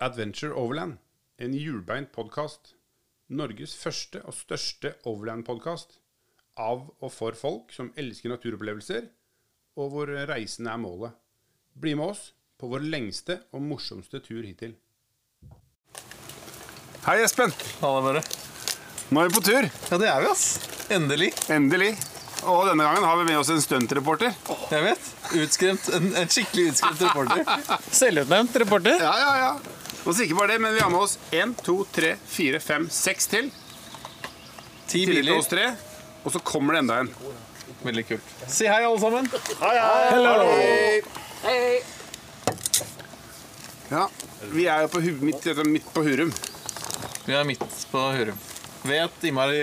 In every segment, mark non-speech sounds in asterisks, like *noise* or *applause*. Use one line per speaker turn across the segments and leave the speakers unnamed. Adventure Overland, en hjulbeint podkast. Norges første og største overland-podkast. Av og for folk som elsker naturopplevelser, og hvor reisen er målet. Bli med oss på vår lengste og morsomste tur hittil.
Hei, Espen.
Halla, dere.
Nå er vi på tur.
Ja, det er vi, ass. Endelig.
Endelig. Og denne gangen har vi med oss en stuntreporter.
Jeg vet. Utskremt. En, en skikkelig utskremt reporter. Selvutnevnt reporter.
Ja, ja, ja. Og så ikke bare det, men vi har med oss én, to, tre, fire, fem, seks til.
Ti
Tidligere til oss
biler.
tre. Og så kommer det enda en.
Veldig kult. Si hei, alle sammen.
Ja. Vi er jo på, hu- midt, dette er midt på Hurum.
Vi er midt på Hurum. Ved et innmari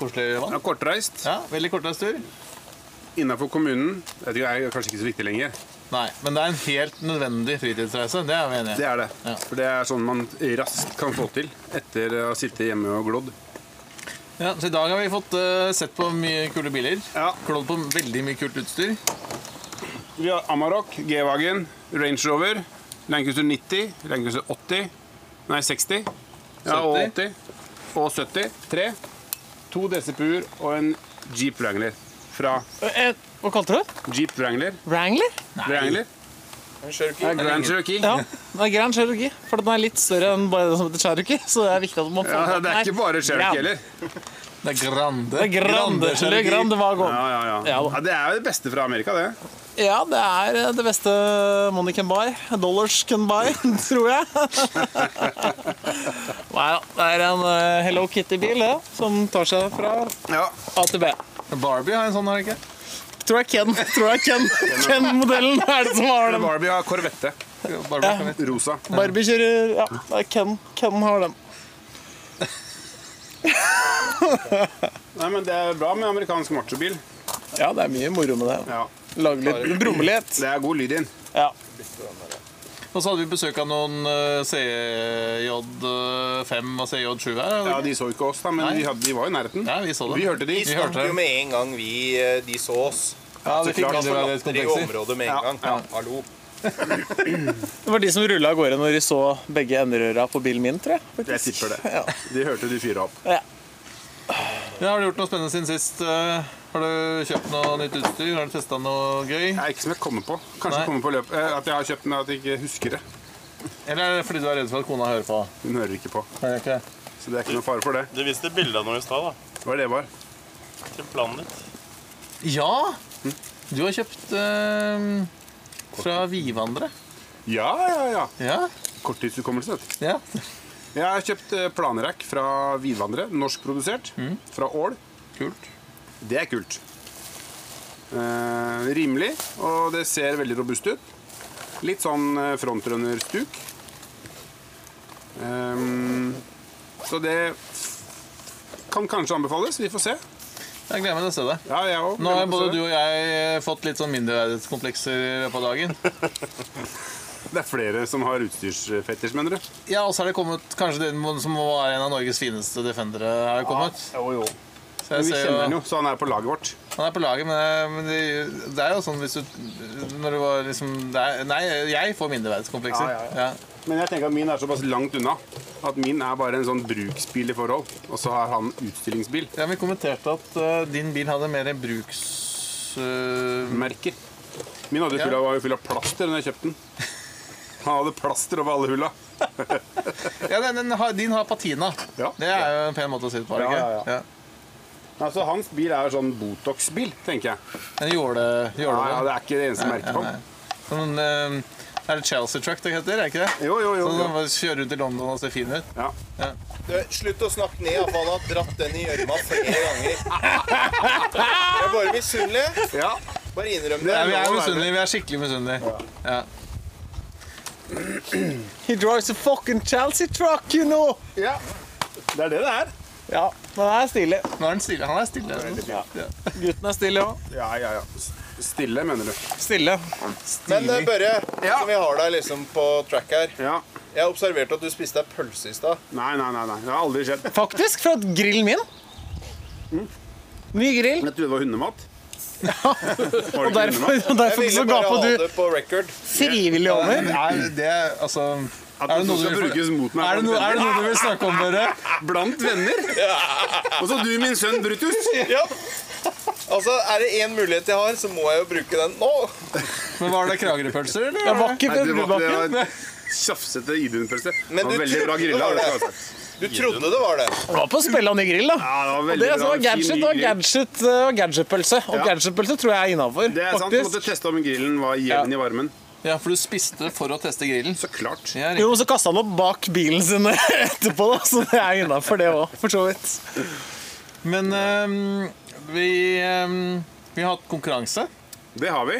koselig
Det
vann.
er kortreist.
Ja, Veldig kortreist tur.
Innafor kommunen. Jeg vet ikke, Det er kanskje ikke så viktig lenger.
Nei, men det er en helt nødvendig fritidsreise. Det er vi enige
Det
i.
er det.
Ja.
For det er sånn man raskt kan få til etter å ha sittet hjemme og glodd.
Ja, så I dag har vi fått eh, sett på mye kule biler.
Ja.
Klådd på veldig mye kult utstyr.
Vi har Amarok, G-Wagen, Range Rover, Lancaster 90, Lancaster 80 Nei, 60. Ja, og 80.
70.
Og 70. Tre. To DCP-er og en Jeep Wrangler. Fra
Eh, Hva kalte du det?
Jeep Wrangler.
Wrangler?
Wrangler.
Cherokee.
Det er Grand Cherokee.
Ja, det er Grand Cherokee. For den er litt større enn bare den som heter Cherokee. Så det er viktig at man får
Ja,
med
det
den
er
her.
ikke bare Cherokee
Grand.
heller.
Det er Grande.
Det er Grande, eller
Cherokee.
Grande Wagon.
Ja, ja, ja.
Ja, da.
ja, Det er jo det beste fra Amerika, det.
Ja, det er eh, det beste money can buy. Dollars can buy, *laughs* tror jeg. Nei da. Det er en eh, Hello Kitty-bil, det. Som tar seg fra
Ja.
A til B.
Barbie har en sånn, har den ikke?
Tror jeg Ken tror jeg Ken, Ken-modellen er det som har den.
Barbie har Corvette.
Barbie kan vi-
Rosa.
Barbie kjører Ja, det er Ken. Ken har den.
Nei, men Det er bra med amerikansk machobil.
Ja, det er mye moro med det.
Ja.
Lage litt brumme litt.
Det er god lyd i den.
Ja.
Og så hadde vi besøk av noen eh, CJ5 og CJ7 her.
Ja, De så ikke oss, da, men
Nei.
de, hadde, de var i nærheten.
Ja, vi så dem.
Vi hørte de.
Vi
Vi hørte det.
snakker jo med en gang vi, eh, de så oss.
Ja, det fikk
Da
andre
forlater de
kontekster.
området med en
Ja,
gang. Hallo.
Det var de som rulla av gårde når de så begge enderøra på bilen min, tror jeg.
Jeg tipper det. De hørte du fyra opp.
Ja, har du gjort noe spennende siden sist? eh? Har du kjøpt noe nytt utstyr? Har du testa noe gøy?
Nei, ikke som jeg kommer på. Kanskje
Nei.
jeg kommer på løp. Eh, at jeg har kjøpt den, men at jeg ikke husker det.
Eller er det fordi du er redd for at kona hører på?
Hun hører ikke på.
Er det ikke? det?
Så det er ikke noe fare for det.
Du viste bilde av noe i stad, da.
Hva var det det var?
Til planen ditt.
Ja! Du har kjøpt eh, fra Vivandre.
Ja, ja, ja.
Ja.
Korttidshukommelse, vet du.
ja.
Jeg har kjøpt eh, planrack fra Vidvandre. Norskprodusert. Fra Ål.
Kult.
Det er kult. Eh, rimelig, og det ser veldig robust ut. Litt sånn eh, frontrunner-stuk. Ehm, så det kan kanskje anbefales. Vi får se.
Jeg gleder meg til å se det.
Ja, jeg òg.
Nå har både du og jeg fått litt sånn mindreverdighetskomplekser i løpet av dagen.
Det er flere som har utstyrsfetisj, mener du?
Ja, og så er det kommet kanskje den som må være en av Norges fineste defendere. Er det kommet?
Jo, jo.
Så
Men
jeg
vi
ser
kjenner
jo,
den jo, så han er på laget vårt.
han er på laget, men, det- men det, det er jo sånn hvis du Når du var liksom det er, Nei, jeg får mindreverdighetskomplekser.
Ja, ja, Men jeg tenker at min er såpass langt unna at min er bare en sånn bruksbil i forhold. Og så har han utstillingsbil.
Ja, Vi kommenterte at eh, din bil hadde mer bruks... eh,
Merker. Min hadde jo
Ja.
full av, var jo full av plaster da jeg kjøpte den. Han hadde plaster over alle hulla.
ja, den, den, har- Din har patina.
Ja.
Det er jo en pen måte å si det på. er det
Ja,
ikke?
ja, ja. Altså, hans bil er jo sånn Botox-bil, tenker jeg.
En jåle...
Ja, ja,
jålevogn.
det er ikke det eneste merket på den.
Sånn, eh, er det Chelsea Truck det heter? er ikke det?
Jo, jo, jo.
Sånn
jo.
som bare kjører rundt i London og ser fin ut.
Ja.
Du, slutt å snakke ned, for han har dratt den i gjørma flere ganger. Jeg er bare misunnelig.
ja.
Bare innrøm
Det
det.
Ja,
lov å
vi er
være
misunnelige. Vi er skikkelig misunnelige. Ja.
He drives a fucking Chelsea truck, you know!
ja. Det er det det er.
Ja, den er stille.
Nå er han stille. Han er stille.
Gutten er stille òg.
Ja, ja, ja. S- Stille, mener du.
Stille.
Men eh, Børre,
Ja.
som vi har deg liksom på track her
Ja.
Jeg observerte at du spiste deg pølse i stad.
Nei, nei, nei. nei. Det har aldri skjedd.
Faktisk, fra grillen min. Ny grill.
Jeg trodde det var *laughs* hundemat. Var det
Og
ikke
derfor,
hundemat?
og
Jeg
derfor
ville
så
bare
gapa
ha
du
det på record.
frivillig over.
Det er, det er, altså
At
Er det
det
noe du
skal
vil-
brukes mot meg Ah!
Er det, noe, er det noe du vil snakke om, dere?
blant venner? Også du, min sønn Brutus.
Ja. Altså, er det én mulighet jeg har, så må jeg jo bruke den nå.
Men Var det Kragerø-pølser, eller?
Jeg var ikke
Nei, det var, det var tjafsete idunpølse. Det
Men
var
du
veldig bra
trodde
grilla.
det var
Det,
det.
altså.
Du trodde det var det.
Det var på Spellan i grill, da.
Ja, det var
Og
veldig
det som
bra.
var gadget,
Fin, ny
var
grill.
gadget eh, og gadgetpølse. Og
Ja.
gadgetpølse tror jeg er innafor,
det er sant. Du måtte
faktisk.
teste om grillen var jevn i varmen.
Ja, for du spiste for å teste grillen.
Så klart.
Ja, riktig.
Jo, men så kasta han opp bak bilen sin *laughs* etterpå, da, så det er innafor, det òg, for så vidt.
Men ehm, vi, ehm, vi har hatt konkurranse.
Det har vi.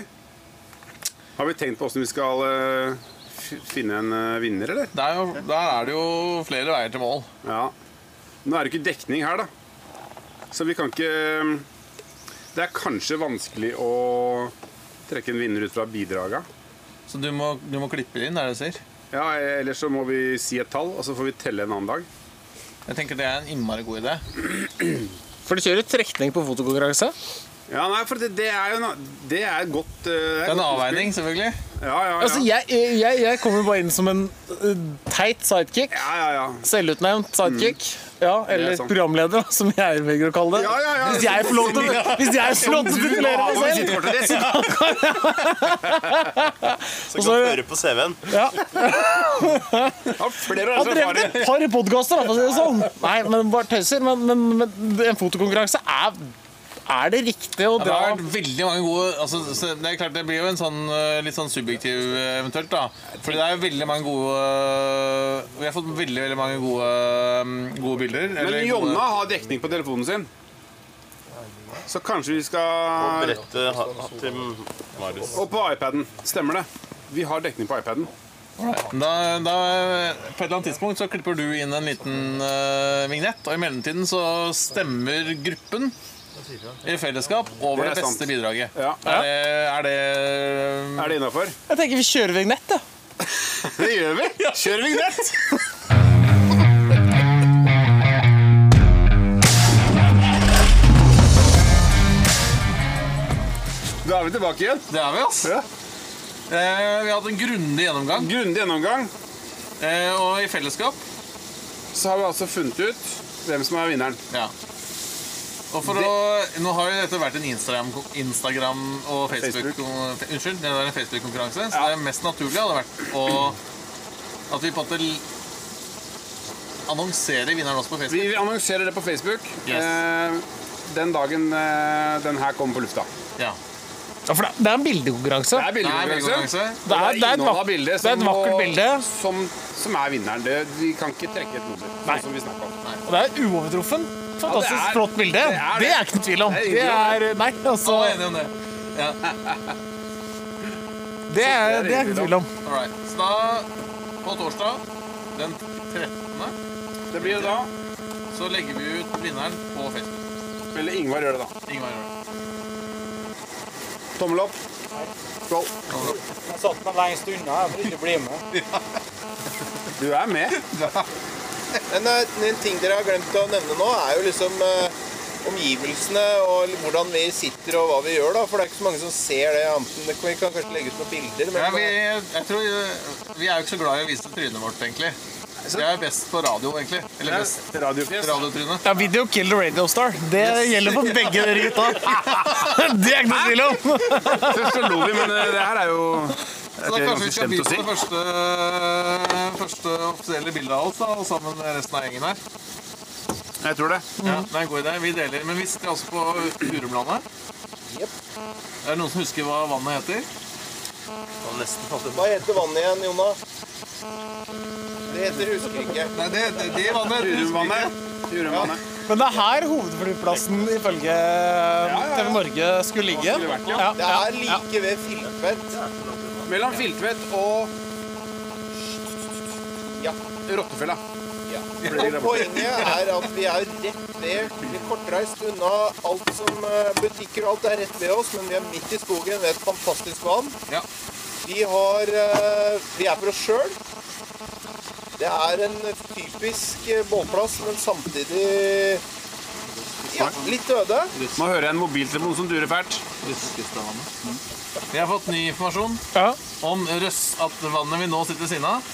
Har vi tenkt på åssen vi skal eh, f- finne en eh, vinner, eller?
Det er jo, der er det jo flere veier til mål.
Ja. Nå er det ikke dekning her, da. Så vi kan ikke eh, Det er kanskje vanskelig å trekke en vinner ut fra bidraga.
Så du må, du må klippe det inn, er det du sier?
Ja, eh, ellers så må vi si et tall, og så får vi telle en annen dag.
Jeg tenker det er en innmari god idé.
For du kjører trekning på fotokonkurranse?
Ja, nei, for det, det er jo en, det er godt eh,
Det er en
godt
avveining, selvfølgelig.
utspill. Ja, ja, ja.
Altså, jeg, jeg, jeg kommer jo bare inn som en eh, teit sidekick.
ja, ja, ja.
Selvutnevnt sidekick. Ja,
Det
eller
er sant.
programleder, da, som jeg velger å kalle det.
Ja, ja, ja.
Hvis jeg får lov til å- hvis jeg får lov til å titulere
har
meg selv!
visittkortet *laughs* ditt!
Så kan du høre på CV-en.
Ja.
Ja, flere
Jeg
år
har drevet
erfaring.
et par podkaster, for å si det sånn. Nei, men bare tøyser. Men, men, men en fotokonkurranse er Er det riktig å
Det
dra
har vært veldig mange gode altså, så Det er klart det blir jo en sånn eh, litt sånn subjektiv eh, eventuelt, da. Fordi det er veldig mange gode eh, Vi har fått veldig veldig mange gode, eh, gode bilder.
Men
eller gode-
Jonna har dekning på telefonen sin. Så kanskje vi
Og
skal
brette eh, ha- ha- til Marius.
Og på iPaden. Stemmer det. Vi har dekning på iPaden.
Da, da, på et eller annet tidspunkt så klipper du inn en liten eh, vignett, og i mellomtiden så stemmer gruppen i fellesskap over
Det
det,
er sant.
beste bidraget.
Ja.
Er det, er det
Er det innafor?
Jeg tenker vi kjører vignett, jeg.
*laughs* Det gjør vi. Kjør vignett! Da er vi tilbake igjen.
Det er vi, ass.
Ja.
Eh, vi har hatt en grundig gjennomgang,
Grundig gjennomgang.
eh, og i fellesskap
Så har vi altså funnet ut hvem som er vinneren.
Ja. Og for å, nå har jo dette vært en Instagram, Instagram og Facebook,
Facebook.
Unnskyld, det var en Facebook-konkurranse, så
Ja.
det mest naturlige hadde vært å, at vi på en måte l- annonserer vinneren også på
Vi
Facebook.
annonserer det på Facebook
Yes.
eh, den dagen eh, den her kommer på lufta.
Ja.
Ja, for det, det er en bildekonkurranse.
Det er
Det er
bildekonkurranse.
bildekonkurranse.
Det er, det er, et,
innhold
vak
av bildet
det er et
som
vakkert
må-
bilde.
Som, som er vinneren. Det, vi kan ikke trekke et nummer. sånn Som vi snakket om.
Og det er uovertruffen. Fantastisk
Ja, det er-
flott bilde.
det
Det
er
er,
det.
ikke noe tvil om.
Det er
Det er, nei, altså,
Alle er enige om det. Ja.
det er det er ikke noe tvil om.
All right. Så da, på torsdag den 13.
Det blir det da.
så legger vi ut vinneren på Facebook.
Eller Ingvar gjør det, da.
Ingvar gjør det.
Tommel opp. Skål.
Jeg satt meg lengst unna jeg, for ikke å bli med.
Du er med.
Men eh, en ting dere har glemt å nevne nå, er jo liksom eh, omgivelsene og li- hvordan vi sitter og hva vi gjør, da. For det er ikke så mange som ser det. Anten det- vi kan kanskje legge ut noen bilder, men
Ja, vi, jeg tror, eh, vi er jo ikke så glad i å vise trynet vårt, egentlig. Det er jo best på radio, egentlig. Eller best
Radiofjes.
radiotrynet.
Ja, Video Kill the Radio Star. Det gjelder for begge dere
*laughs*
gutta. *laughs* Det er ikke noe tvil om.
Først *laughs* så lo vi, men eh, det her er jo
Så da
Det er
kanskje vi
ganske slemt å
skal begynne
si.
på det første, første offisielle bildet av oss, da, og sammen med resten av gjengen her.
Jeg tror det.
Ja, det er en god idé. Vi deler. Men vi sitter altså på Hurumlandet.
Jep.
Er det noen som husker hva vannet heter?
Han nesten falt ut.
hva heter vannet igjen, Jonna? Det heter husker jeg ikke.
Nei, det, det, det vannet heter
Jurumvannet. Jurumvannet.
Men det er her hovedflyplassen ifølge TV Norge skulle ligge.
Skulle vært, ja.
Ja,
Det
ja,
er
ja.
like ved Filmfett.
Mellom Filtvet og
Ja.
Rottefella.
Ja. Og poenget er at vi er rett ved Vi er kortreist unna alt som eh, butikker og alt er rett ved oss, men vi er midt i skogen ved et fantastisk vann.
Ja.
Vi har eh, Vi er for oss sjøl. Det er en typisk eh, bålplass, men samtidig ja, litt øde.
Nå hører jeg en mobiltelefon som durer fælt.
Russeskustadvannet. Vi har Mhm. fått ny informasjon
ja.
om Røss, at vannet vi nå sitter ved siden av,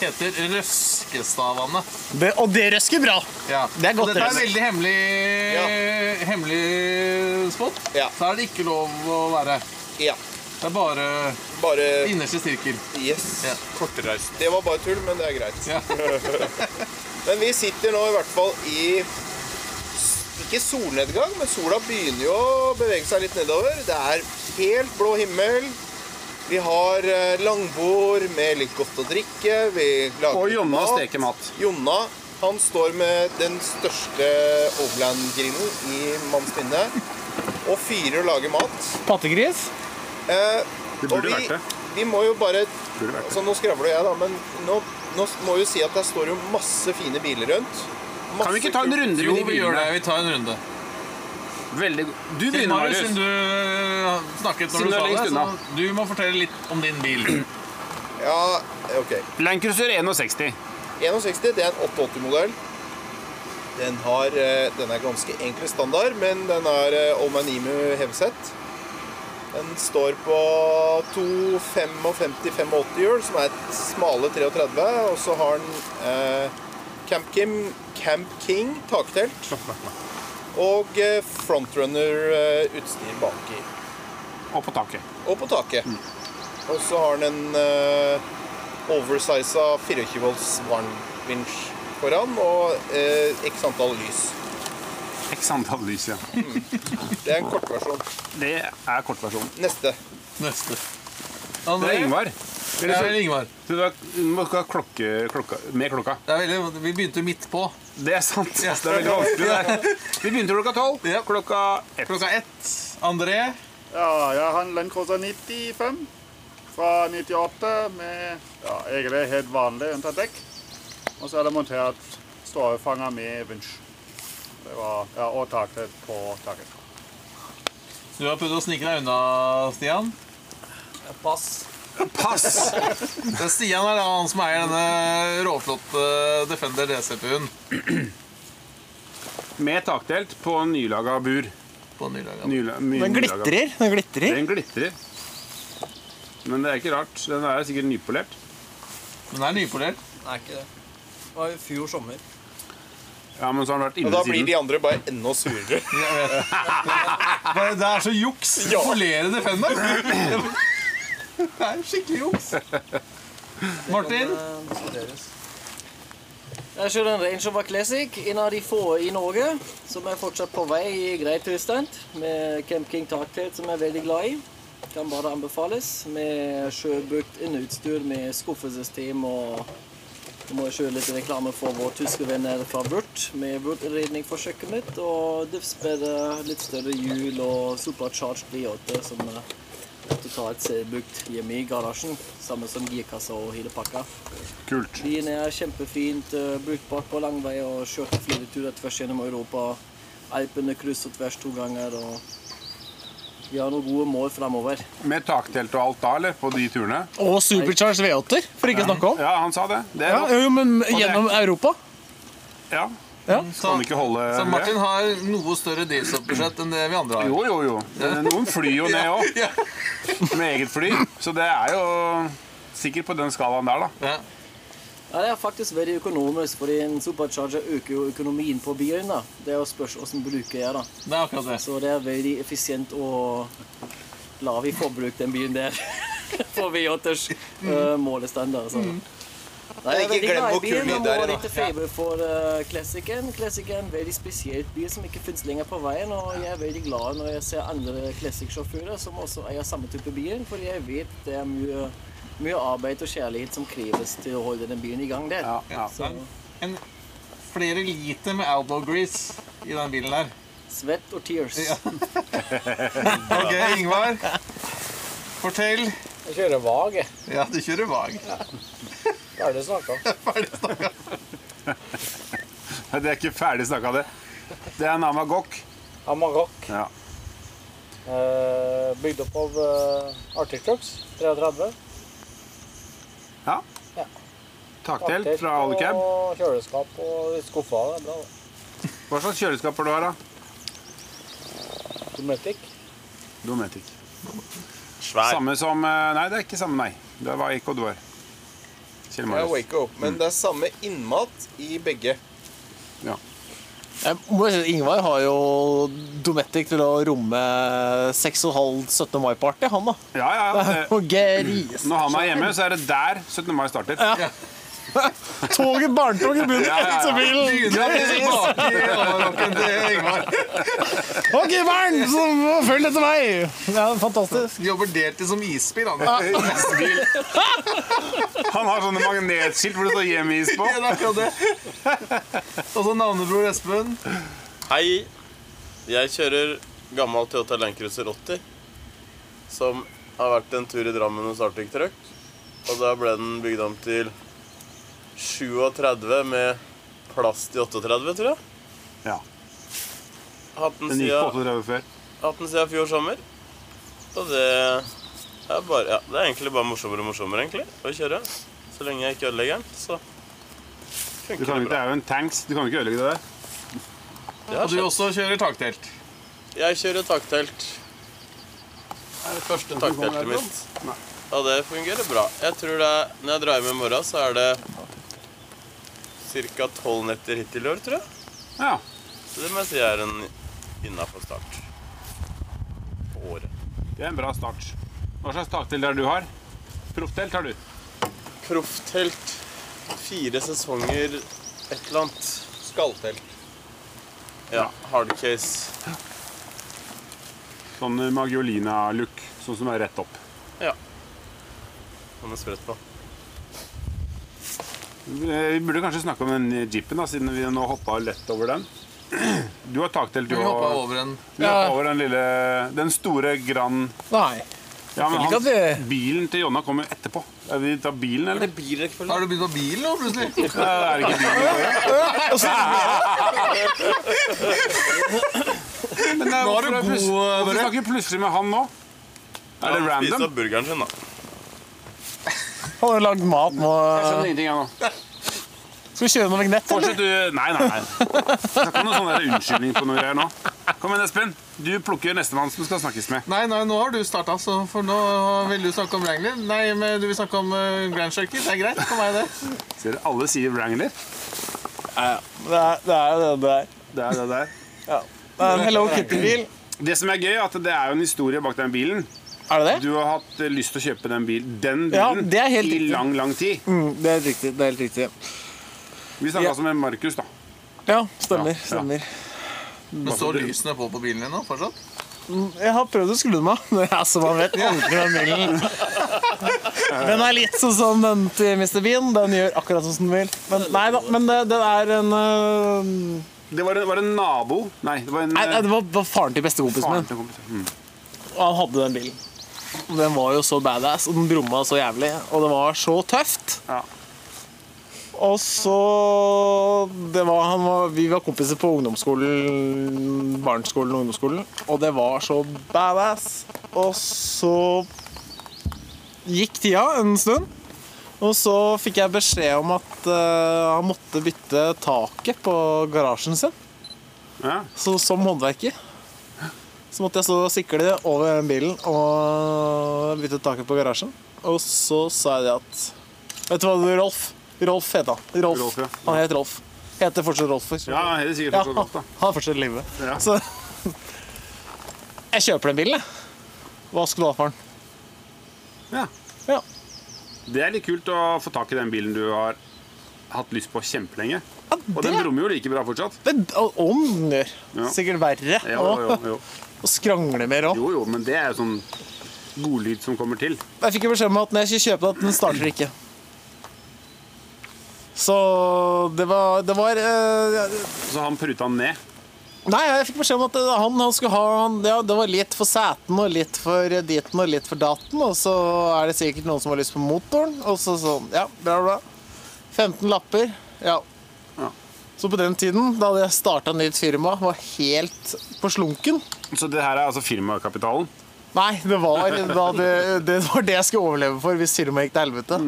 heter Røskestadvannet.
Det, og det røsker bra!
Ja.
Det er godt
Og Dette er
røsk.
en veldig hemmelig, hemmelig spot.
Ja.
Så er det ikke lov å være.
Ja.
Det er bare
Bare
innerste sirkel.
Yes.
Ja.
Kortreist.
Det var bare tull, men det er greit.
Ja.
Men vi sitter nå i hvert fall i ikke solnedgang, men sola begynner jo å bevege seg litt nedover. Det er helt blå himmel. Vi har eh, langbord med litt godt å drikke. Vi lager
Og
litt
Jonna
mat.
steker mat.
Jonna han står med den største Overland-grillen i manns minne og fyrer og lager mat.
Pattegris?
Eh,
Det
og
burde
vi,
vært det.
vi må jo bare
Burde vært det.
altså, Nå skravler jeg, da, men nå, nå må vi jo si at der står jo masse fine biler rundt.
Kan vi ikke ta en runde med
Jo,
de
vi gjør det.
bilene?
Vi tar en runde.
Veldig god. Du
Siden
begynner,
Marius, siden
Marius.
du øh, snakket
Siden
når
du er
du sa
lengst
det,
unna.
så du må fortelle litt om din bil.
Ja, ok.
Landcruiser 61.
61, det er en 880-modell. Den, har, eh, den er ganske enkel standard, men den har eh, Omanimu heveset. Den står på 255-85 hjul, som er et smale 33. Og så har den eh, Camp, Kim, Camp King taktelt. Og eh, frontrunner-utstyr baki.
Og på taket.
Og på taket. Og så har den en eh, oversiza 24 volts varmvinsj foran og eh, x antall lys.
X antall lys, ja.
Det er en kortversjon.
Det er kortversjonen.
Neste.
Neste.
Det
André?
er Ingvar.
Det er Ingvar.
Så du har- du må ikke ha klokke, klokka med klokka.
Det er veldig, vi begynte midt på.
Det er sant. Det er veldig vanskelig. Det. Vi begynte klokka tolv.
Ja.
Klokka ett.
Klokka ett. André.
Ja, jeg har en Land Cruiser 95 fra 98 med ja, egentlig helt vanlig unntatt dekk. Og så er det montert strålefanger med vinsj. Det var ja, og taket på taket.
Du har prøvd å snike deg unna, Stian.
Pass.
Pass!
Det er Stian er da han som eier denne råflotte eh, Defender DCP-en
Med takdelt på nylaga bur.
på Nylaga.
Nyla, my-
Den
nylaga-
glitrer. Den glitrer.
Den glitrer. Men det er ikke rart. Den er sikkert nypolert.
Den er nypolert.
Nei, ikke det. Det var i fjor sommer.
Ja, men så har den vært
Og
inne
da blir
siden.
de andre bare enda surere.
Jeg vet. Bare Det er så juks.
Ja.
Polere Defender. Det er skikkelig juks. Martin.
Jeg kjører en Range Rover Classic, en av de få i Norge som er fortsatt på vei i grei tilstand. Med Camp King taktelt, som jeg er veldig glad i. Kan bare anbefales. Med sjøbukt inneutstyr med skuffesystem og Du må kjøre litt reklame for våre tyske venner fra Wurt, med Wurt-redning for kjøkkenet. Og duftspredde, litt større hjul og supercharged V8 som eh, totalt selvbrukt hjemme i garasjen. Samme som girkassa og hele pakka.
Kult.
Bilen er kjempefint eh, brukbart på langvei og kjørte flere turer tvers gjennom Europa. Alpene kryss og tvers to ganger. og Vi har noen gode mål framover.
Med taktelt og alt da, eller? På de turene?
Og supercharged V8-er, for ikke å snakke om.
Ja, han sa det. Det er
Ja,
rått.
jo, men gjennom Europa.
Ja.
Så,
Kan ikke holde
så Martin har noe større drivstoffbudsjett enn det vi andre har.
Jo, jo, jo. Noen flyr jo ned òg. Med eget fly. Så det er jo sikkert på den skalaen der, da.
Ja.
Ja, det er faktisk veldig økonomisk, fordi en supercharger øker jo økonomien på bilen. da. Det er jo spørsmål hvordan bruker jeg da.
Det er akkurat det.
Så det er veldig effisient og lav i forbruk, den bilen der. *laughs* For V8-ers eh, målestandard. Så. *laughs* Nei, jeg er
Ikke
veldig
glem
glad
hvor
i bilen
kul
og
lyd det er i
har
da.
litt feber for uh, klassikeren. Klassikeren er en veldig spesiell bil som ikke finnes lenger på veien. Og jeg er veldig glad når jeg ser andre klassiksjåfører som også eier samme type bil, for jeg vet det er mye, mye arbeid og kjærlighet som kreves til å holde den bilen i gang der.
Ja, ja.
Så
En, flere liter med Outlaw Grease i den bilen der.
svett og tears.
Ok, Ingvar. Fortell.
Jeg kjører vag, jeg.
Ja, du kjører vag.
Hva er det du snakker om?
Det er ikke ferdig snakka, det. Det er Namagok.
Amarok.
Ja.
Eh, bygd opp av eh, Arctic Trucks 33.
Ja.
Ja.
Taktelt fra Alicab.
og kjøleskap og litt skuffer. Det er bra. da.
Hva slags kjøleskaper du har, da?
Dometic.
Dometic.
Svær.
Samme som eh, Nei, det er ikke samme, nei. Det var Ekodor. Kjell
Det er
Marius.
Waco. Men det er samme innmat i begge.
Jeg må si at Ingvar har jo Dometic til å romme 6,5 17. mai-party, han da.
Ja, ja, ja.
*laughs*
det-
*laughs* Og gris.
Når han er hjemme, så er det der 17. mai starter.
Toget, barnetoget begynner
ja, ja.
etter bilen.
*laughs*
Og giveren som var full etter meg. Ja, fantastisk.
Jobber deltid som isbil, han.
Han har sånne magnetskilt hvor det står 'hjemmeis' på.
*laughs* Ja, det er akkurat det. Og så navnebror Espen.
Hei, jeg kjører gammel Toyota Land Cruiser 80 Som har vært en tur i Drammen hos Arctic Truck Og da ble den bygd om til 37 med plass til 38, tror jeg
Ja.
Hatt den
Den gikk på
siden,
38 før.
hatt den siden fjor sommer Og det er bare, ja, det er egentlig bare morsommere og morsommere egentlig Å kjøre Så lenge jeg ikke ødelegger den, så
Du
funker
kan,
det
det
bra
er jo en tanks. Du kan jo ikke ødelegge det der.
Det har
Og du
skjedd.
også kjører taktelt.
Jeg kjører taktelt. Det er det første takteltet mitt. Og det fungerer bra. Jeg tror det er, Når jeg drar hjem i morgen, så er det ca. tolv netter hittil i år, tror jeg.
Ja.
Så det må jeg si er en innafor start. På året.
Det er en bra start. Hva slags taktelt er det du har? Profftelt har du.
Profftelt. Fire sesonger, et eller annet.
Skalltelt.
Ja, hardcase.
Sånn Magiolina-look. Sånn som er rett opp.
Som er spredt på.
Eh, Vi burde kanskje snakke om den jeepen, da, siden vi nå hoppa lett over den. *clears throat* Du har taktelt, du
Vi hoppa
og
over en
du hoppa over den lille Den store Grand
Nei.
Ja, men
Ikke
hans,
at
bilen til Jonna kommer jo etterpå. Er vi tar bilen, eller?
Det blir ikke
Har du begynt på bilen nå, plutselig?
Nei, det er ikke *laughs* bilen. Men det er,
Nå er du
hvorfor er
god,
plutselig- Hvorfor
Børre.
snakker vi plutselig med han nå? Er det
Spise
random?
opp burgeren sin, da.
Han har lagd mat nå.
Jeg skjønner ingenting, jeg nå.
Skal vi kjøre noe vignett, eller?
Fortsett, du. Nei, nei, nei. Snakk om noen sånne der unnskyldning på noe greier nå. Kom igjen, Espen. Du plukker nestemann som skal snakkes med.
Nei, nei, nå har du starta, så for nå vil du snakke om Wrangler. Nei, men du vil snakke om eh, Grand Circle. Det er greit for meg, det.
Ser dere, alle sier Wrangler.
Det er det er jo det det er.
Det er det der.
Det er en Hello Kitty-bil.
Det som er gøy, er at det er jo en historie bak den bilen.
Er det det?
Du har hatt eh, lyst til å kjøpe den bilen, den
Ja,
bilen
det er helt
i
riktig.
lang, lang tid.
Mm, det er helt riktig. Det er helt riktig.
Vi snakka altså med Markus, da.
Ja, stemmer.
Ja, ja.
stemmer.
Men står lysene på på bilen din nå fortsatt?
Jeg har prøvd å skru den av. *laughs* men Altså, man vet aldri med bilen. *laughs* Den er litt sånn som den til Mr. Bean. Den gjør akkurat sånn som den vil. Men, nei da, men det, det er en øh,
Det var en, var en nabo Nei, det var en eh,
Nei, nei, det var, var faren til bestekompisen
faren
min,
til kompisen. Mm.
og han hadde den bilen. Og Den var jo så badass, og den brumma så jævlig, og det var så tøft.
Ja.
Og så det var, han var, Vi var kompiser på ungdomsskolen, barneskolen og ungdomsskolen. Og det var så badass. Og så gikk tida en stund. Og så fikk jeg beskjed om at eh, han måtte bytte taket på garasjen sin.
Ja.
Så som håndverker. Så måtte jeg stå og sikle over den bilen og bytte taket på garasjen. Og så sa jeg det at Vet du hva, du, Rolf? Rolf het han. Rolf.
Rolf, ja.
Han het Rolf. Heter fortsatt Rolf. for-
ja, helt sikkert.
Ja,
fortsatt godt, da.
han er fortsatt i live.
Ja.
Så *laughs* jeg kjøper den bilen, jeg. Hva skal du ha for den?
Ja.
Ja.
Det er litt kult å få tak i den bilen du har hatt lyst på kjempelenge. Og den
det-
brummer jo like bra fortsatt.
Men om den gjør.
Ja.
Sikkert verre.
Jo,
og-
jo, jo.
Og skrangle mer òg.
jo, jo men det er jo sånn godlyd som kommer til.
Jeg fikk jo beskjed om at når jeg skulle kjøpe den, at den starter ikke. Så det var, det var eh,
Så han pruta den ned.
Nei, jeg fikk beskjed om at eh, han, han skulle ha han, ja, Det var litt for seten og litt for eh, diten og litt for daten, og så er det sikkert noen som har lyst på motoren, og så sånn. Ja, bra, bra. 15 lapper. Ja.
Ja.
Så på den tiden, da hadde jeg starta nytt firma, var helt på slunken.
Så det her er altså firmakapitalen.
Nei, det var, da det, det var det jeg skulle overleve for hvis firmaet gikk til helvete.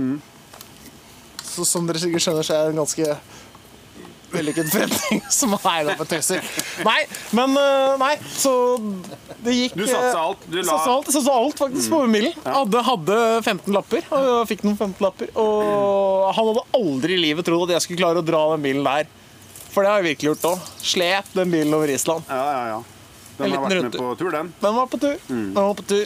Så *laughs* som dere sikkert skjønner, så er jeg en ganske vellykket forretning som er da på tøyser. Nei, men eh, Nei, så det gikk
Du satsa alt, du la- Mm.
la... satsa alt, satsa alt faktisk på Millen. Hadde, hadde 15 lapper, og jeg fikk noen 15 lapper. Og
Mm.
han hadde aldri i livet trodd at jeg skulle klare å dra den bilen der. For det har jeg virkelig gjort òg. Slep den bilen over Island.
Ja, ja, ja.
En
Den har
liten
vært med
runde.
på tur, den.
Den var på tur.
Mm.
Den var på tur.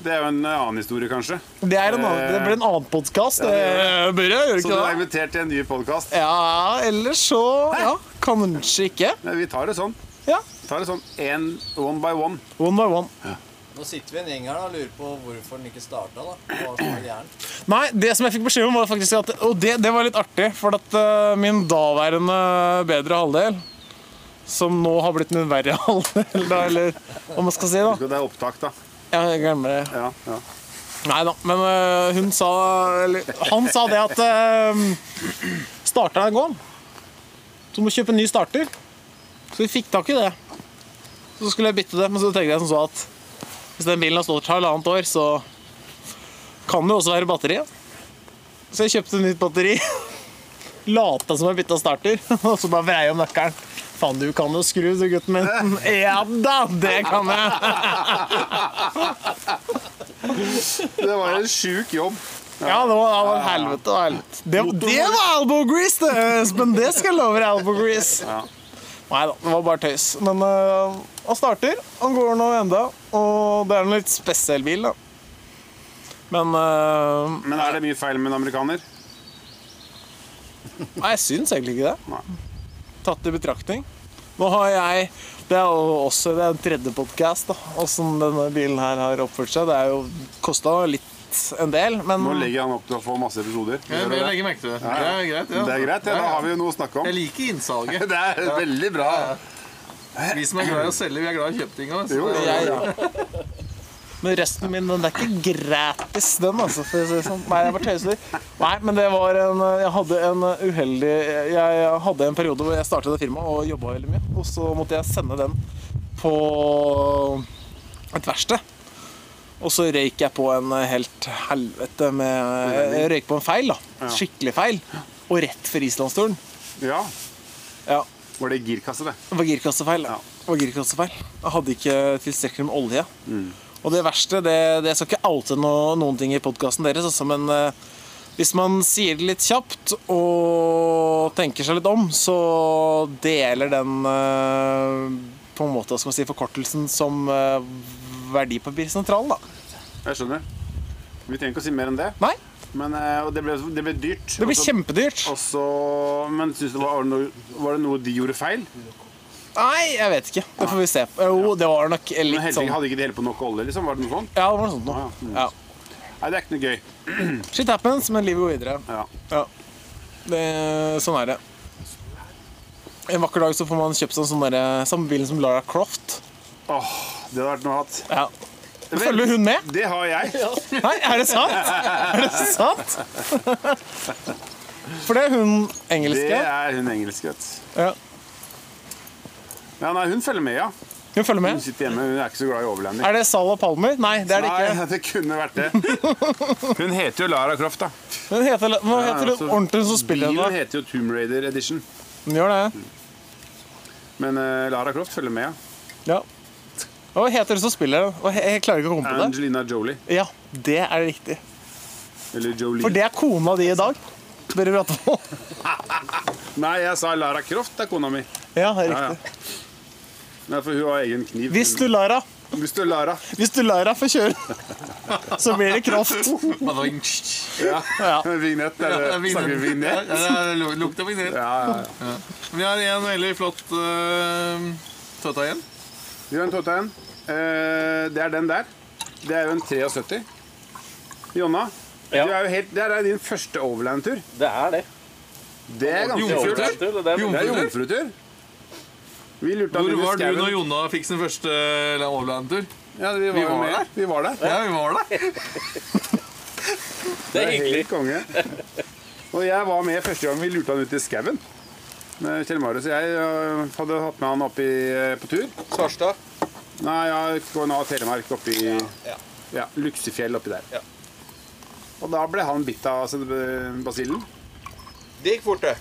Det er jo en eh, annen historie, kanskje.
Det, er en annen, det ble en annen podkast.
Ja,
Ja, Børre, gjør det
Så du
ikke
er
det?
invitert til en ny podkast.
Ja, ellers så Ja, kanskje ikke.
Vi tar det sånn.
Ja.
Tar det sånn en, one by one.
One by one.
Nå sitter vi en gjeng her da, og lurer på hvorfor den ikke starta. da. Hva som er gærent.
Nei, det som jeg fikk beskjed om, var faktisk at Og det, det var litt artig, for at eh, min daværende bedre halvdel som nå har blitt min verre *laughs* halvdel, da, eller hva man skal si. da
Det er opptak, da.
Ja, jeg glemmer det.
Ja, ja.
Nei da, men eh, hun sa Eller han sa det at uh, starteren er gone. Så du må kjøpe en ny starter. Så vi fikk tak i det. Så skulle jeg bytte det, men så tenkte jeg som så at hvis den bilen har stått her halvannet år, så kan det jo også være batteri. Så jeg kjøpte nytt batteri. *laughs* Lata som jeg bytta starter, *laughs* og så bare vrei om nøkkelen. Faen, du kan jo skru, du gutten min. *laughs* Ja da, det kan jeg.
Det var en sjuk jobb.
Ja, det var, det var helvete og helvete. Det, det var elbow grease, det, Espen! Det skal jeg love deg, elbow grease. Nei da, det var bare tøys. Men øh, han starter, han går nå enda, og det er en litt spesiell bil, da. Men øh,
Men er det mye feil med en amerikaner?
Nei, jeg syns egentlig ikke det. Tatt i betraktning. Nå har jeg Det er jo også det er en tredje podkast, da. Åssen denne bilen her har oppført seg. Det er jo kosta litt en del, men
Nå legger han opp til å få masse episoder.
Mm. Ja, jeg legger merke til det.
Ja,
Det
ja.
er greit, ja.
Det er greit, ja. Da
Ja, ja.
har vi jo noe å snakke *laughs* om.
Jeg liker innsalget.
Det er
Ja.
veldig bra.
Vi som er glad i å selge, vi er glad i å kjøpe ting også, så-
Jo, jo,
Men resten min, den er ikke gratis, den, altså. For å si det sånn. Nei, jeg bare tøyser. Nei, men det var en Jeg hadde en uheldig Jeg hadde en periode hvor jeg startet et firma og jobba veldig mye. Og så måtte jeg sende den på et verksted. Og så røyk jeg på en helt helvete med Jeg røyk på en feil, da. Skikkelig feil. Og rett for islandsturen.
Ja.
Ja.
Var det girkasse, det?
Det var girkassefeil. Ja. Det var girkassefeil. Jeg hadde ikke tilstrekkelig med olje.
Mm.
Og det verste, det, det jeg skal ikke oute no, noen ting i podkasten deres, altså, men eh, hvis man sier det litt kjapt og tenker seg litt om, så deler den eh, på en måte, hva skal man si, forkortelsen som eh, verdipapirsentralen, da.
Jeg skjønner. Vi trenger ikke å si mer enn det.
Nei.
Men, eh, og det ble, det ble dyrt.
Det ble
Også-
kjempedyrt.
også- men syns du det var, noe- var det noe de gjorde feil?
Nei, jeg vet ikke. Det får vi se. Jo, det var nok
Men
litt
heldigvis
sånn.
Hadde Mm. ikke de hele på nok olje? liksom? Var det noe sånt?
Ja, det var noe sånt nå. Ja.
Nei, det er ikke noe gøy.
Shit happens, men livet går videre.
Ja.
Det, sånn er det. En vakker dag så får man kjøpt seg en sånn derre- samme bilen som Lara Croft.
Åh, det hadde vært noe hatt.
Ja. Følger hun med?
Det har jeg.
Nei, er det sant? Er det sant? For det er hun
Det
engelske.
er hun engelske, vet du.
Ja.
Ja, nei, hun følger med, ja.
Hun følger
Hun
med.
sitter hjemme, hun er ikke så glad i overlanding.
Er det Sala Palmer? Nei, det er det ikke.
Nei, *laughs* det kunne vært
*laughs*
det. Hun heter jo Lara Croft, da.
Hun heter, hva heter
Ja,
hun
så
ordentlig som spiller
Bilen
henne?
heter jo Tomb Raider Edition.
Hun gjør det.
Men eh, Lara Croft følger med, ja.
Ja. Og Hva heter hun som spiller henne? Hva he- Jeg klarer ikke å komme på det.
Angelina Jolie.
Ja, det er riktig.
Eller Jolie.
For det er kona di i dag. Børre Bratvold.
Nei, jeg sa Lara Croft, det er kona mi.
Ja, det er
Ja, ja.
riktig.
Nei, for hun har egen kniv.
Hvis du Lara,
Hvis du Lara.
hvis du Lara får kjøre, *laughs* så blir det *laughs* kraft.
Badoing.
Ja.
Ja.
Vignett,
Ja, det
eller
er vignett.
snakker vi
Ja,
vignett?
ja, det er lukt av vignett.
Ja, ja, ja.
Ja. Vi har en veldig flott uh, Toyota igjen.
Vi har en Totein. Eh, det er den der. Det er jo en 73. Jonna, du er jo helt, det her er din første overland-tur.
Det er det.
Det er ganske kult.
Jomfrutur?
Jomfrutur, og det er
Det er
Jomfrutur?
jomfrutur. Vi lurte
Hvor
han
var du
skauen.
når Jonna fikk sin første overland-tur?
Ja, vi var,
Vi
jo
var
med.
der.
Vi var der.
Ja, vi var der.
Det er helt konge. Og jeg var med første gang vi lurte han ut i skauen. Med Kjell Marius og jeg øh, hadde hatt med han opp i, øh, på tur.
Svarstad.
Nei, ja, KNA Telemark oppi
ja.
ja, Luksefjell oppi der.
Ja.
Og da ble han bitt av altså, øh, basillen.
Det gikk fort, det.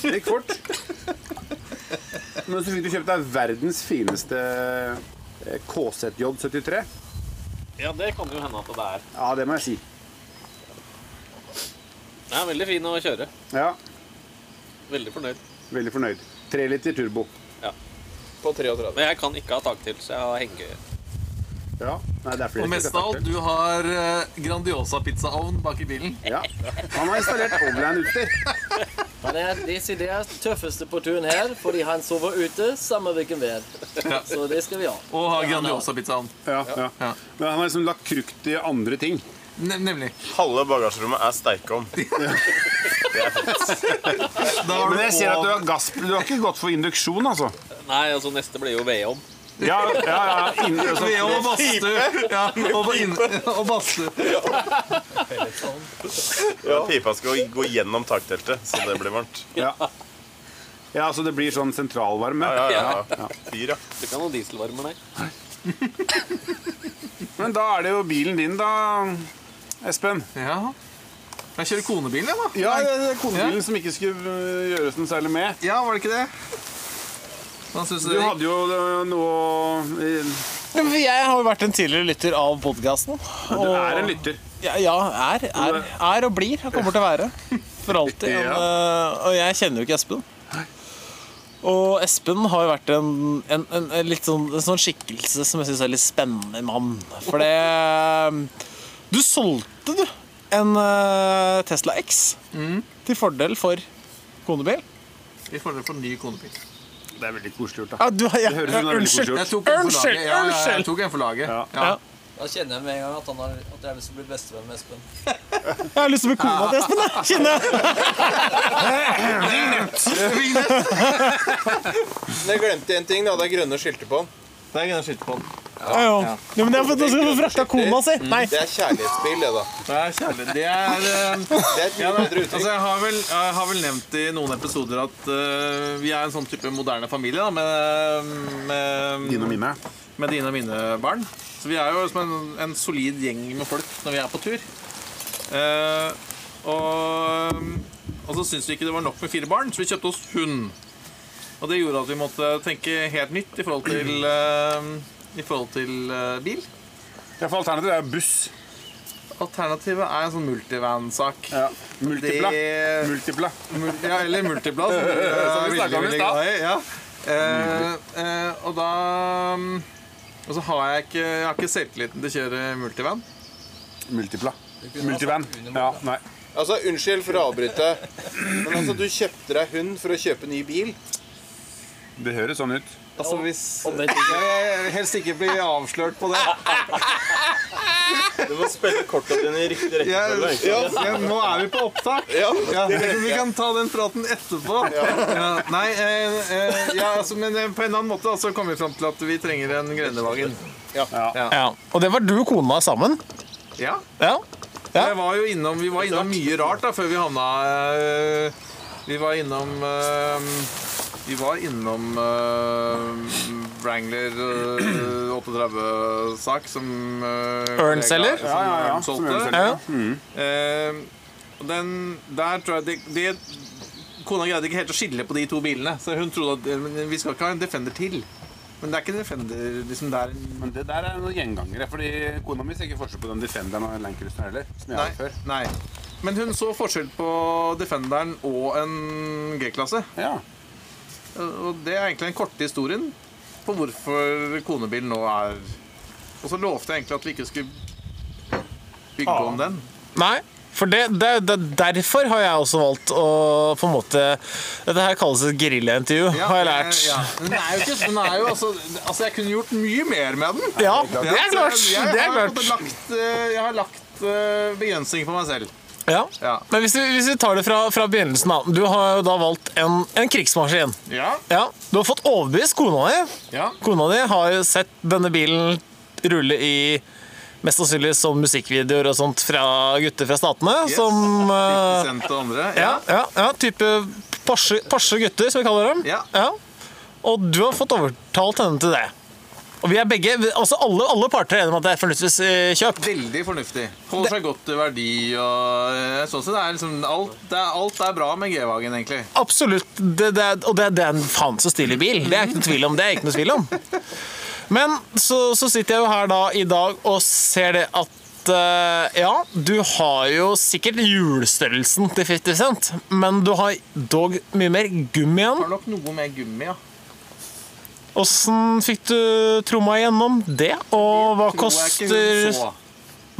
Det gikk fort. Men så fikk du kjøpt deg verdens fineste eh, KZJ73.
Ja, det kan jo hende at det er.
Ja, det må jeg si.
Den er veldig fin å kjøre.
Ja,
Veldig fornøyd.
veldig fornøyd. 3 liter turbo.
Ja.
På 33.
Men jeg kan ikke ha taktil, så jeg har hengegøye.
Ja. Nei, det er flere
Og mest
som
av
har
alt,
sagt det.
du har eh, Grandiosa pizzaovn bak i bilen.
Ja. Han har installert overland-utstyr.
Han er desidert tøffeste på turen her, fordi han sover ute samme hvilken vær.
Ja.
Så det skal vi ha.
Og har Grandiosa-pizzaovn.
Ja, ja. Men han har liksom lagt krukt i andre ting.
nemlig.
Halve bagasjerommet er steikeovn.
Men jeg ser at du har gass Du har ikke gått for induksjon, altså.
Nei, altså neste blir jo vedovn.
Ja, ja, ja.
*laughs*
Inn, altså.
Ved å badstue. Ja, og, på inn- *laughs* og badstue.
Ja, Pipa skal gå gjennom takteltet, så det blir varmt.
Ja. ja, altså det blir sånn sentralvarme.
Ja, ja, ja. Fyr, ja.
Du kan ha dieselvarmer der.
Men da er det jo bilen din, da, Espen.
Ja. Jeg kjører konebil, jeg, da.
Ja, det er konebilen som ikke skulle øh, gjøres noe særlig med.
Ja, var det ikke det? Hva syns
Du
du?
hadde jo øh, noe øh,
Jeg har jo vært en tidligere lytter av podkasten.
Du er en lytter.
Ja, ja er, er, er og blir. Jeg kommer til å være. For alltid. Men, øh, og jeg kjenner jo ikke Espen. Og Espen har jo vært en, en, en, en litt sånn, en sånn skikkelse som jeg syns er litt spennende mann. For det Du solgte, du, en øh, Tesla X
Mm.
til fordel for konebil.
I forhold til ny konebil.
Det er veldig koselig gjort, da.
Ja, du, ja,
Det høres ut
ja,
som det er veldig
unnskyld!
koselig
Jeg
gjort.
tok en for laget. Ja, ja, jeg
Unnskyld, unnskyld.
tok en for laget. *laughs*
Ja.
Ja.
Da kjenner jeg med en gang at, han har, at jeg har lyst til å bli bestevenn med Espen.
Jeg har lyst til å bli kona til Espen, jeg! Kjenner jeg.
Men jeg glemte en ting. da, Det er grønne skilter på den.
Det er grønne skilter på den.
Ja, ja. Ja, men jeg har fått jeg skal få frakta kona si! Nei.
Det er kjærlighetsbil, det, da.
Det er kjærlig. Det er eh,
Det er et
ja,
mye
men,
bedre
altså,
uttrykk.
jeg, har vel, jeg har vel nevnt i noen episoder at eh, vi er en sånn type moderne familie da, med, med,
Dine og mine.
med dine og mine barn. Så vi er jo som en, en solid gjeng med folk når vi er på tur. Eh, og, og så syntes vi ikke det var nok med fire barn, så vi kjøpte oss hund. Og det gjorde at vi måtte tenke helt nytt i forhold til, eh, i forhold til eh, bil.
Ja, for alternativet er jo buss.
Alternativet er en sånn multivan-sak.
Ja. Multipla.
Det-
Multipla.
Mul- Ja, eller multipla, som du er
vi snakket om
veldig,
i
veldig
stad.
glad i. Ja. Eh, eh, og da mm, Og så har jeg ikke, jeg har ikke selvtilliten til å kjøre multivan.
Multipla. Multivan. Ja, nei.
Altså, Unnskyld for å avbryte, men altså, du kjøpte deg hund for å kjøpe ny bil.
Det høres sånn ut.
Altså hvis Jeg vil helst ikke bli avslørt på det.
Du må spille korta dine i riktig rekkefølge.
Jeg,
ikke sant?
ja, nå er vi på opptak. Ja, vi kan ta den praten etterpå. Ja, nei, eh, eh, ja, altså, men eh, på en annen måte da, så kom vi fram til at vi trenger en grendevagen.
Ja. Og det var du og kona sammen?
Ja.
Ja. Ja.
Jeg var jo innom, vi var innom mye rart da, før vi havna øh, Vi var innom øh, Vi var innom øh, Wrangler øh, 38-sak som øh,
Ørn selger?
Ja, ja, ja. Som Ørn solgte.
Ja.
Eh, og den, der tror jeg det, det Kona greide ikke helt å skille på de to bilene, så hun trodde at eh, men vi skal ikke ha en Defender til. Men det er ikke en Defender liksom det er en-
Men det der er noen gjengangere, fordi kona mi ser ikke forskjell på den Defenderen og Landcruiseren heller. Som jeg har
Nei.
før.
nei. Men hun så forskjell på Defenderen og en G-klasse.
Ja.
Og det er egentlig den korte historien på hvorfor konebil nå er Og så lovte jeg egentlig at vi ikke skulle bygge
Ah.
om den.
Nei. For det, det, det, derfor har jeg også valgt å på en måte Dette her kalles et geriljaintervju, har jeg lært.
Ja, men den er jo ikke, den er jo altså, altså, jeg kunne gjort mye mer med den.
Ja, det er klart!
så Jeg, jeg,
Det er
har, på en
klart.
måte lagt, eh, jeg har lagt eh, begrensninger på meg selv.
Ja.
Ja.
Men hvis vi, hvis vi tar det fra, fra begynnelsen, da. Du har jo da valgt en, en krigsmaskin.
Ja,
Ja. Du har fått overbevist kona di.
ja.
Kona di har jo sett denne bilen rulle i Mest sannsynlig som musikkvideoer og sånt fra gutter fra Statene.
Yes.
Som eh,
Sendt til andre.
Ja, ja, ja type Porsche, Porsche gutter, som vi kaller dem.
Ja.
Og du har fått overtalt henne til det. Og vi er begge, altså alle, alle parter er enige om at det er et fornuftig eh, kjøp.
Veldig fornuftig. Holder seg godt til verdi og eh, sånn sett. Det er liksom alt, det er, alt er bra med G-Wagen, egentlig.
Absolutt. Det, det, er- og det, det er en faen så stilig bil. Det er ikke noe tvil om. Det er ikke noe tvil om. Men så, så sitter jeg jo her da i dag og ser det at eh, ja, du har jo sikkert hjulstørrelsen til 50 Cent, men du har dog mye mer gummi igjen.
Har nok noe mer gummi, ja.
Åssen fikk du tromma igjennom det, og hva
tror jeg ikke
koster
hun så.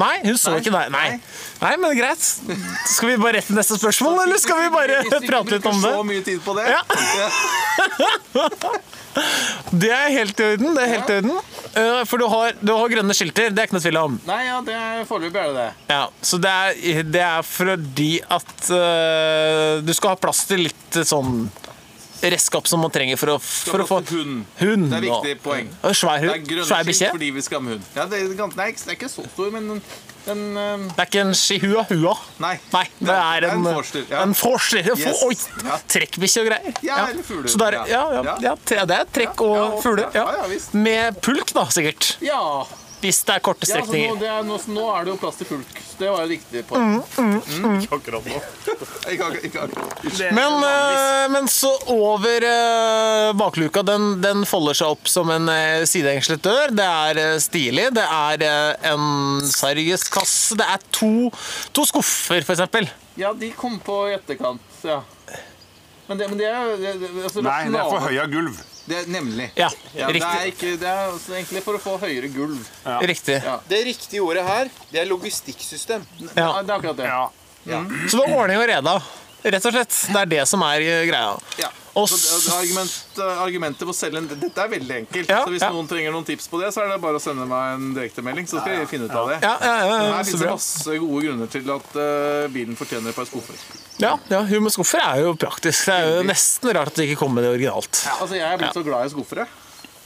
Nei, hun så
Nei.
ikke deg. Nei. Nei, men greit. Skal vi bare rett til neste spørsmål, eller skal vi bare prate litt om det?
Så mye tid på det.
Det er helt i orden. det er helt i orden. Eh, For du har, du har grønne skilter, det er ikke noe tvil om.
*laughs* Nei, ja, det er foreløpig er det det.
Ja, Så det er, det er fordi at eh, du skal ha plass til litt sånn redskap som man trenger for å, for å få
Hund.
Hund,
Det er
og-
viktig poeng.
og Svær
Det er
hund.
grønne
Svær
skilt
bikkje.
Fordi vi skal ha med hund. Ja, det er, gans- nei, det er ikke så stor, men den, den eh,
Det er ikke en chihuahua.
Nei.
det er en, en
forster, ja.
forster.
Yes.
Oi, Trekkbikkje og greier.
Ja, eller fugler.
Så det er, ja, ja,
Ja.
ja, tre- det er trekk og fugle. Ja. Med pulk, da, sikkert.
Ja.
Hvis det er korte
Ja, så nå,
strekninger.
det er, nå, nå er det jo plass til fulk. Så Det var jo riktig poeng.
Mm, mm, mm.
Ikke akkurat nå. ikke akkurat, ikke akkurat.
Men, eh, men så over eh, bakluka. Den, den folder seg opp som en eh, sidehengslet dør. Det er eh, stilig. Det er eh, en sargeskasse. Det er to, to skuffer, for eksempel.
Ja, de kom på i etterkant, ja. Men det, men det er jo det- det- altså,
Nei, det er for
rasjonale-
høya gulv.
Det er nemlig.
Ja,
Det er,
riktig.
ikke, det er altså egentlig for å få høyere gulv.
Riktig.
Det riktige ordet her, det er logistikksystem.
Det er akkurat det.
Så det er ordning og reda. Rett og slett. Det er det som er eh, greia.
Ja.
Og
Så det- det er argument, eh, argumentet for å selge en Dette er veldig enkelt.
Ja,
så hvis
ja.
noen trenger noen tips på det, så er det bare å sende meg en direktemelding, så skal jeg finne ut av det.
Ja, ja, ja, ja,
Men her
så
finnes
bra.
det liksom masse gode grunner til at eh, bilen fortjener et par skuffer.
Ja, ja hun med skuffer er jo praktisk. Det er jo nesten rart at det ikke kom med det originalt.
Altså, jeg er blitt så glad i skuffere.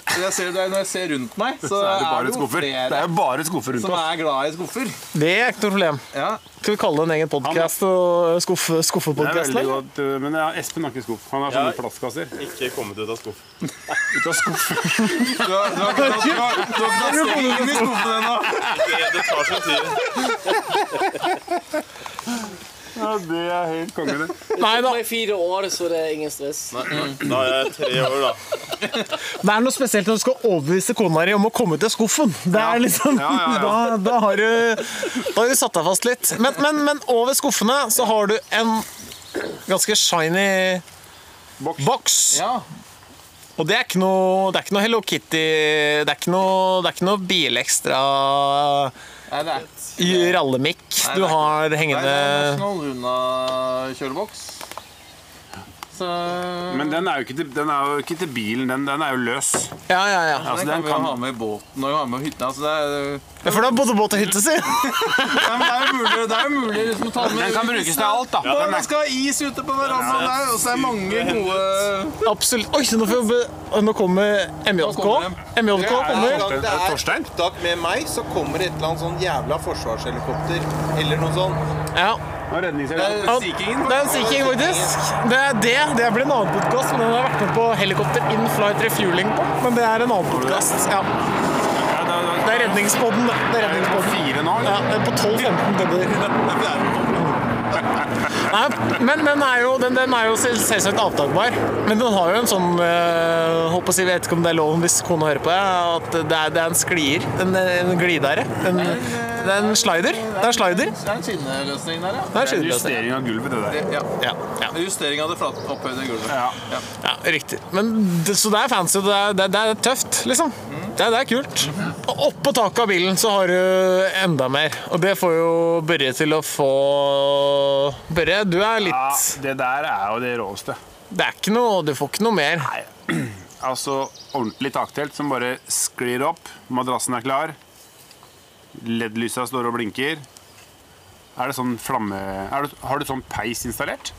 Så Jeg ser det, når jeg ser rundt meg, så,
Så er det bare
jo
skuffer.
flere
Det er jo bare skuffer rundt
som
oss.
er glad i skuffer.
Det er ikke noe problem. Skal vi kalle det en egen podkast og eh, skuffe,
Det er
skuffepodkast?
veldig godt, uh, men ja, Espen har ikke skuff. Han har
Jeg
sånne
har
plastkasser.
Ikke kommet ut av skuff.
Ut av *laughs* skuff.
Du har du har ikke tatt- du har- du har ikke tatt steg inn i skuffen ennå.
Det, det tar sin tid.
Ja, det er helt konge, det.
Nei da.
Det tok meg fire år, så det er ingen stress.
Da er jeg tre år, da.
Det er noe spesielt når du skal overbevise kona di om å komme ut av skuffen. Det er liksom,
Ja, ja,
*laughs* Da,
ja.
da, har du, da har du satt deg fast litt. Men, men, men over skuffene så har du en ganske shiny boks. Og det er ikke noe, det er ikke noe Hello Kitty Det er ikke noe, det er ikke noe bilekstra
Nei, det er
i rallemikk
Nei, det er
du
ikke-
har
Nei, det er
hengende
National Runa-kjøleboks. Så
Men den er jo ikke til, den er jo ikke til bilen, den, den er jo løs.
Ja, ja, ja.
Altså, den
den kan vi jo
kan-
ha med i båten og ha med i hytta. Altså, det er,
Ja, for da bodde båt og hytte, si!
ja, men det er jo mulig, det er jo mulig liksom, å ta med
Den kan brukes til alt, da.
Ja,
Den er-
man skal ha is ute på verandaen
Ja.
der, og så er det mange gode
Absolutt. Oi, så nå, får vi, be- nå kommer MJK. MJK
Hver gang det
kommer.
er opptak med meg, så kommer det et eller annet sånn jævla forsvarshelikopter eller noe sånt.
Ja.
Det
Ja, Det er en Sea King, faktisk. Det er det. Det blir en annen podkast, men den har jeg vært med på Helikopter in flight refueling på. Men det er en annen podkast. Ja. Det er redningspodden. det. Det er redningspodden. Ja, det er på 12-15 bønder. Nei, men den er jo, den, den er jo selv- selvsagt avtakbar. Men den har jo en sånn eh, håper å si, Jeg vet ikke om det er lov hvis kona hører på, jeg, at det er, det er en sklier. En, en glidere. En, det er en slider. Det er en slider.
Det er en skinneløsning der, ja.
Det er en skinneløsning. Det er en justering
av gulvet, det der.
Ja.
Ja.
Det er Justering av det flate, opphøyde gulvet. Ja.
Ja, riktig. Men, det- så det er fancy, og det er, det er, det er tøft, liksom. Det, er- det er kult. Og oppå taket av bilen så har du enda mer, og det får jo Børre til å få Børre, du er litt
Det der er jo det råeste.
Det er ikke noe Du får ikke noe mer.
Altså ordentlig taktelt som bare sklir opp. Madrassen er klar. LED-lysa står og blinker. Er det sånn flamme... Er det, har du sånn peis installert?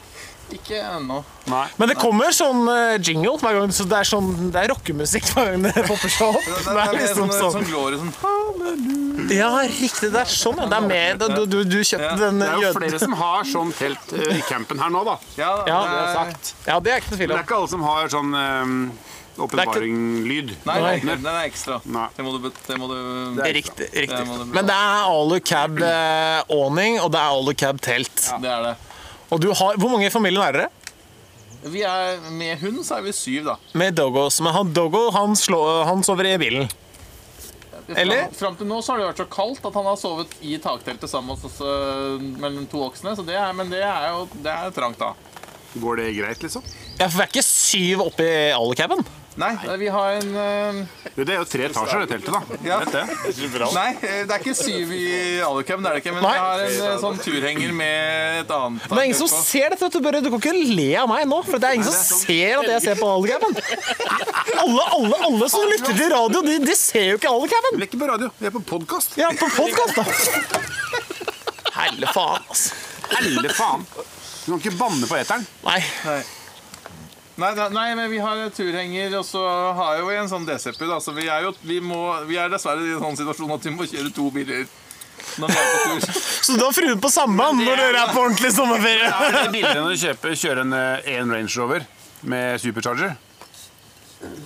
Ikke ennå.
Nei.
Men det kommer sånn eh, jingle hver gang, så det er sånn Det er rockemusikk hver gang det popper seg opp.
Det
Det er liksom
sånn,
sånn
sånn glory, sånn halleluja.
Ja, riktig. Det er sånn, ja. Det er mer Du, du, du kjøpte den
Det er jo
jøden-
flere som har sånn telt eh, i campen her nå, da.
Ja, det er-
det er sagt.
Ja, det er ikke noe tvil
Men
om.
det er ikke alle som har sånn eh, åpenbaring-lyd.
Nei, nei, den er ekstra. Det må du, bet- det må du
Riktig. riktig.
Det må du betale.
Men det er alucab-awning, og det er alucab-telt.
Det er det.
Og du har, Hvor mange i familien er dere?
Vi er, med hund så er vi syv, da.
Med Doggos. Men han, Doggo han, slår, eh, han sover i bilen. Eller?
Fram, fram til nå så har det vært så kaldt at han har sovet i takteltet sammen med oss øh, mellom to voksne. Så det er, men det er jo det er trangt, da.
Går det greit, liksom?
Ja, for det er ikke syv oppi alucaben.
Nei, Eh, vi har en eh,
Det er jo tre etasjer, det teltet, da.
Ja.
Vet det.
Nei, eh, det er ikke syv i alucam, det er det ikke. Men
Nei.
vi har en øh, sånn turhenger med et annet
Men det er ingen som
taktelt på.
ser dette. vet Du Børre. Du kan ikke le av meg nå, for det er ingen som ser at jeg ser på Algaven. Alle, alle, alle som lytter til radio, de, de ser jo ikke Algaven. Vi
er ikke på radio, vi er på podkast.
Ja, på podcast, da. Helle faen, altså.
Helle faen. Du kan ikke banne på eteren.
Nei.
Nei. Nei, da- nei, men vi har turhenger, og så har jo vi en sånn DCP. Da, så vi er, jo, vi, må, vi er dessverre i en sånn situasjon at vi må kjøre to biler når vi er på tur.
Så da har fruen på samband når dere er på ordentlig sommerferie.
Ja, det er billigere når du kjøper, kjører en, eh, en Range Rover med supercharger.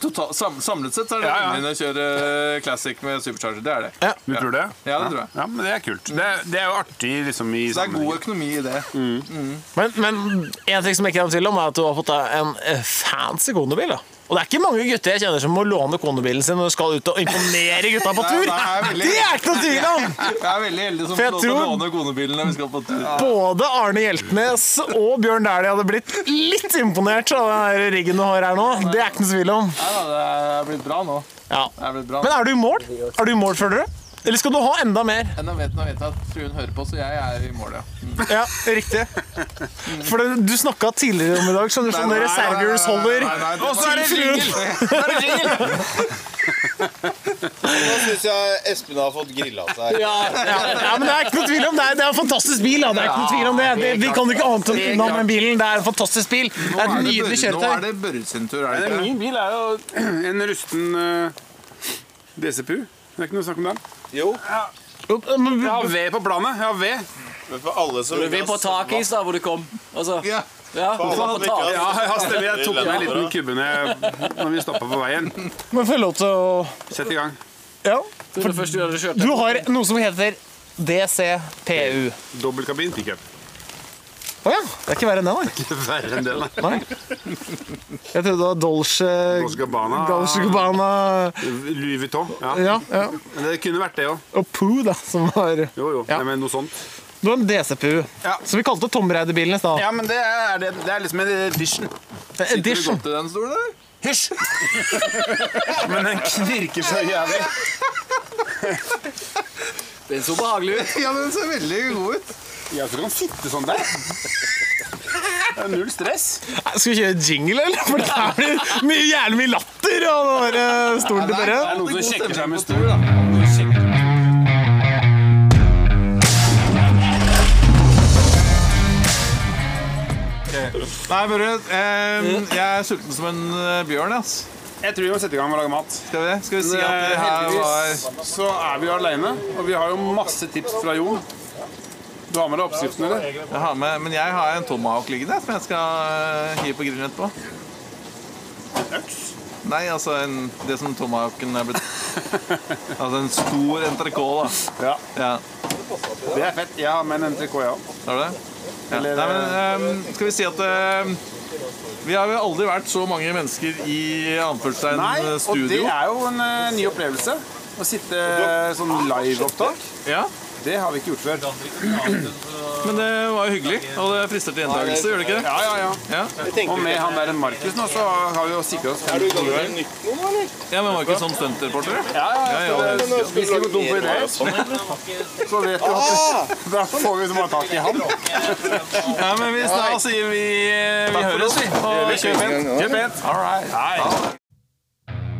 Total, sam, samlet sett så er det
Ja,
ja,
ja.
å kjøre eh, Classic med supercharger. Det er det.
Du tror det?
Ja, det tror jeg.
Ja, men det er kult. Det, er- det er jo artig liksom i
Så det er god økonomi i det.
Men, men en ting som jeg ikke er i tvil om, er at du har fått deg en eh, fancy konebil. da. Og det er ikke mange gutter jeg kjenner som må låne konebilen sin når du skal ut og imponere gutta på tur. Det er ikke noe tvil om!
Jeg er veldig heldig som
For jeg
får lov til å
tror-
låne konebilen når vi skal på tur.
Både Arne Hjeltnes og Bjørn Dæhlie hadde blitt litt imponert av den her riggen du har her nå. Det er ikke noe tvil om.
Nei da, det er blitt bra nå.
Ja.
Det er blitt bra.
Men er du i mål? Er du i mål, føler du? Eller skal du ha enda mer?
Nå vet, nå vet jeg at fruen hører på, så jeg er i mål, ja.
Ja, riktig. For det- du snakka tidligere om i dag, skjønner du, sånne reservehjulsholder.
Og så er det
jingle!
Nå syns jeg Espen har fått grilla seg.
Ja, ja, ja, men det er ikke noe tvil om det. er- Det er en fantastisk bil. Da. Det er ikke noe tvil om det. det vi kan jo ikke annet enn unna med den bilen. Det er en fantastisk bil. Det er et nydelig
Nå er
kjøretøy.
det Børre sin tur, er
Nei,
det
det er
ikke?
min bil er jo en rusten eh, DCPU. Det er ikke noe snakk om den.
Jo.
Jeg
har ved på planet. Jeg har ved.
Vi på takis da, hvor du kom. Altså, ja.
Ja,
på tak.
ja, stemmer. Jeg tok med en liten kubbe ned når vi stoppa på veien.
Men får jeg lov til å
Sett i gang.
Ja.
Du, det første du hadde kjørt.
Du har noe som heter DCPU.
Dobbeltkabin pickup.
Å ja. Det er ikke verre enn det,
Ikke verre enn det,
nei. Jeg trodde det var Dolce
Dolce Gabbana.
Dolce Gabbana
Louis Vuitton. Ja.
Ja, ja.
Men Det kunne vært det òg.
og Poo, da, som var
Jo, jo. Nei, men noe sånt.
Du har en DCPU. Så vi kalte Tomreiderbilen i stad.
Ja, men det er, det, det er liksom en edition.
Det er edition.
Til den stolen, eller?
Hysj! *laughs* Men den knirker så jævlig.
Den så behagelig ut.
Ja, den ser veldig god ut.
Ja, så kan den sitte sånn der. Det er null stress.
Nei, Skal vi kjøre jingle, eller? For det her blir mye, jævlig mye latter av den der eh, stolen til
Det
Børre.
er noen som sjekker seg med stol.
Nei, Børre, ehm, jeg er sulten som en eh, bjørn, ass.
Jeg tror vi må sette i gang med å lage mat.
Skal vi, skal vi si
Men,
at det
eh,
her
heldigvis
var
så er vi aleine, og vi har jo masse tips fra Jon. Du har med deg oppskriften, eller?
Jeg har med, men jeg har en tomahawk liggende som jeg skal eh, hive på grillen etterpå.
Øks?
Nei, altså en, det som tomahawken er blitt
*laughs*
Altså en stor entrecôte,
da.
Ja.
Det er fett. Jeg har med en NTK, jeg òg.
Har du det? Ja.
Eller- eh,
Nei, men ehm, skal vi si at ehm, vi har jo aldri vært så mange mennesker i anførselstegn
Nei, og
eh,
det
studio.
er jo en eh, ny opplevelse. Å sitte eh, sånn liveopptak.
Ja.
Det har vi ikke gjort før.
Men det var jo hyggelig, og det frister til gjentakelse, gjør det ikke det?
Ja, ja, ja.
Ja.
Og med han der Markus nå, så har vi jo sikra oss
Er du i gang med
nytt nå,
Ja, men var ikke sånn stuntreporter?
Ja, ja, ja.
ja, ja. sånn
Hvis vi går tom for ideer, så vet du
Ah!
*laughs* at Da får vi som har tak i han.
ja, men hvis da sier vi eh, Vi høres, vi. Og kjøp en.
Kjøp en.
All right.
Hei.